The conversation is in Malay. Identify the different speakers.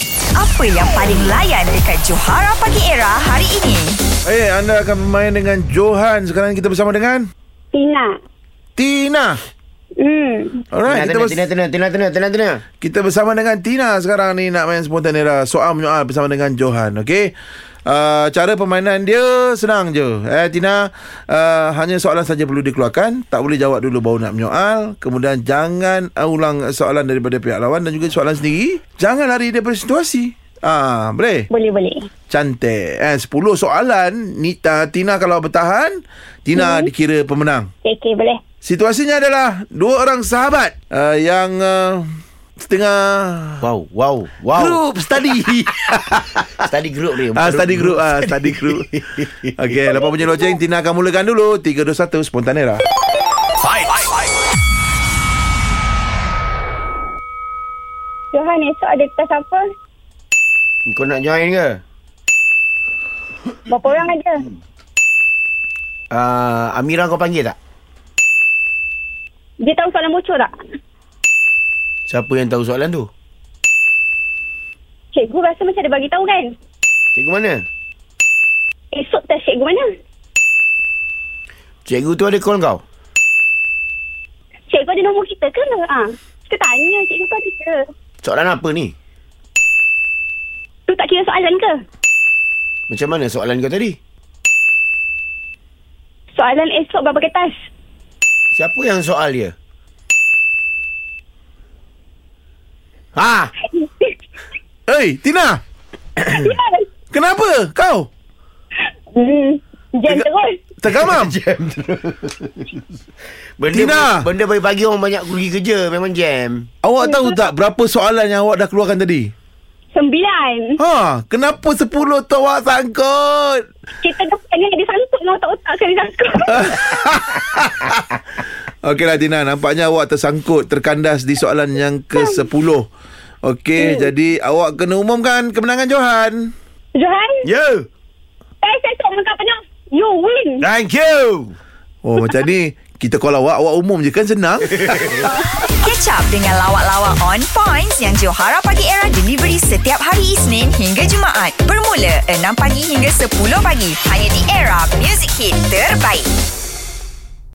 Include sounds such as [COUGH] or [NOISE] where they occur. Speaker 1: Siapa yang paling layan dekat Johara Pagi Era hari ini?
Speaker 2: Eh, anda akan bermain dengan Johan. Sekarang kita bersama dengan
Speaker 3: Tina.
Speaker 2: Tina.
Speaker 3: Hmm.
Speaker 2: Alright, kita,
Speaker 4: Tenang,
Speaker 2: bers-
Speaker 4: tenang, tenang, tenang, tenang, tenang, tenang.
Speaker 2: kita bersama dengan Tina sekarang ni nak main spontan era. Soal menyoal bersama dengan Johan, okey? Uh, cara permainan dia senang je. Eh Tina, uh, hanya soalan saja perlu dikeluarkan, tak boleh jawab dulu baru nak menyoal. Kemudian jangan uh, ulang soalan daripada pihak lawan dan juga soalan sendiri. Jangan lari daripada situasi. Ah, boleh?
Speaker 3: Boleh boleh.
Speaker 2: Cantik. Eh, 10 soalan. Ni, uh, Tina kalau bertahan, Tina hmm. dikira pemenang.
Speaker 3: Okey okey boleh.
Speaker 2: Situasinya adalah dua orang sahabat uh, yang uh, setengah
Speaker 4: Wow, wow, wow.
Speaker 2: group study. [LAUGHS]
Speaker 4: Study group dia.
Speaker 2: ah, study group. Ah, study [LAUGHS] group. Okey, lepas punya loceng, Tina akan mulakan dulu. 3, 2, 1, spontanera.
Speaker 3: Johan esok ada kelas apa?
Speaker 4: Kau nak join ke?
Speaker 3: Berapa orang ada?
Speaker 4: Uh, Amira kau panggil tak?
Speaker 3: Dia tahu soalan bocor tak?
Speaker 4: Siapa yang tahu soalan tu?
Speaker 3: Cikgu rasa macam dia bagi tahu kan?
Speaker 4: Cikgu mana?
Speaker 3: Esok tak cikgu mana?
Speaker 4: Cikgu tu ada call kau?
Speaker 3: Cikgu ada nombor kita ke? Ha. Kita tanya cikgu kau ada ke?
Speaker 4: Soalan apa ni?
Speaker 3: Tu tak kira soalan ke?
Speaker 4: Macam mana soalan kau tadi?
Speaker 3: Soalan esok berapa kertas?
Speaker 4: Siapa yang soal dia? Ha!
Speaker 2: Hei, Tina. Kenapa kau?
Speaker 3: [LAUGHS] hmm. Jam
Speaker 2: Tiga-
Speaker 3: terus.
Speaker 2: Tergamam.
Speaker 4: Jam terus. benda,
Speaker 2: Tina!
Speaker 4: Benda pagi-pagi orang banyak pergi kerja. Memang jam.
Speaker 2: [LAUGHS] awak tahu tak berapa soalan yang awak dah keluarkan tadi?
Speaker 3: Sembilan.
Speaker 2: Ha, kenapa 10 tu awak sangkut?
Speaker 3: Kita depan ni dia sangkut dengan otak-otak kan dia sangkut.
Speaker 2: Okeylah lah, Tina, nampaknya awak tersangkut terkandas di soalan yang ke-10. Okey, jadi awak kena umumkan kemenangan Johan.
Speaker 3: Johan,
Speaker 2: Ya,
Speaker 4: Yo!
Speaker 3: best esok muka penuh. You win.
Speaker 4: Thank you!
Speaker 2: Oh, macam ni kita call awak, awak umum je kan senang.
Speaker 1: Catch up dengan lawak-lawak on points yang Johara Pagi Era delivery setiap hari Isnin hingga Jumaat. Bermula 6 pagi hingga 10 pagi. Hanya di Era Music Hit Terbaik.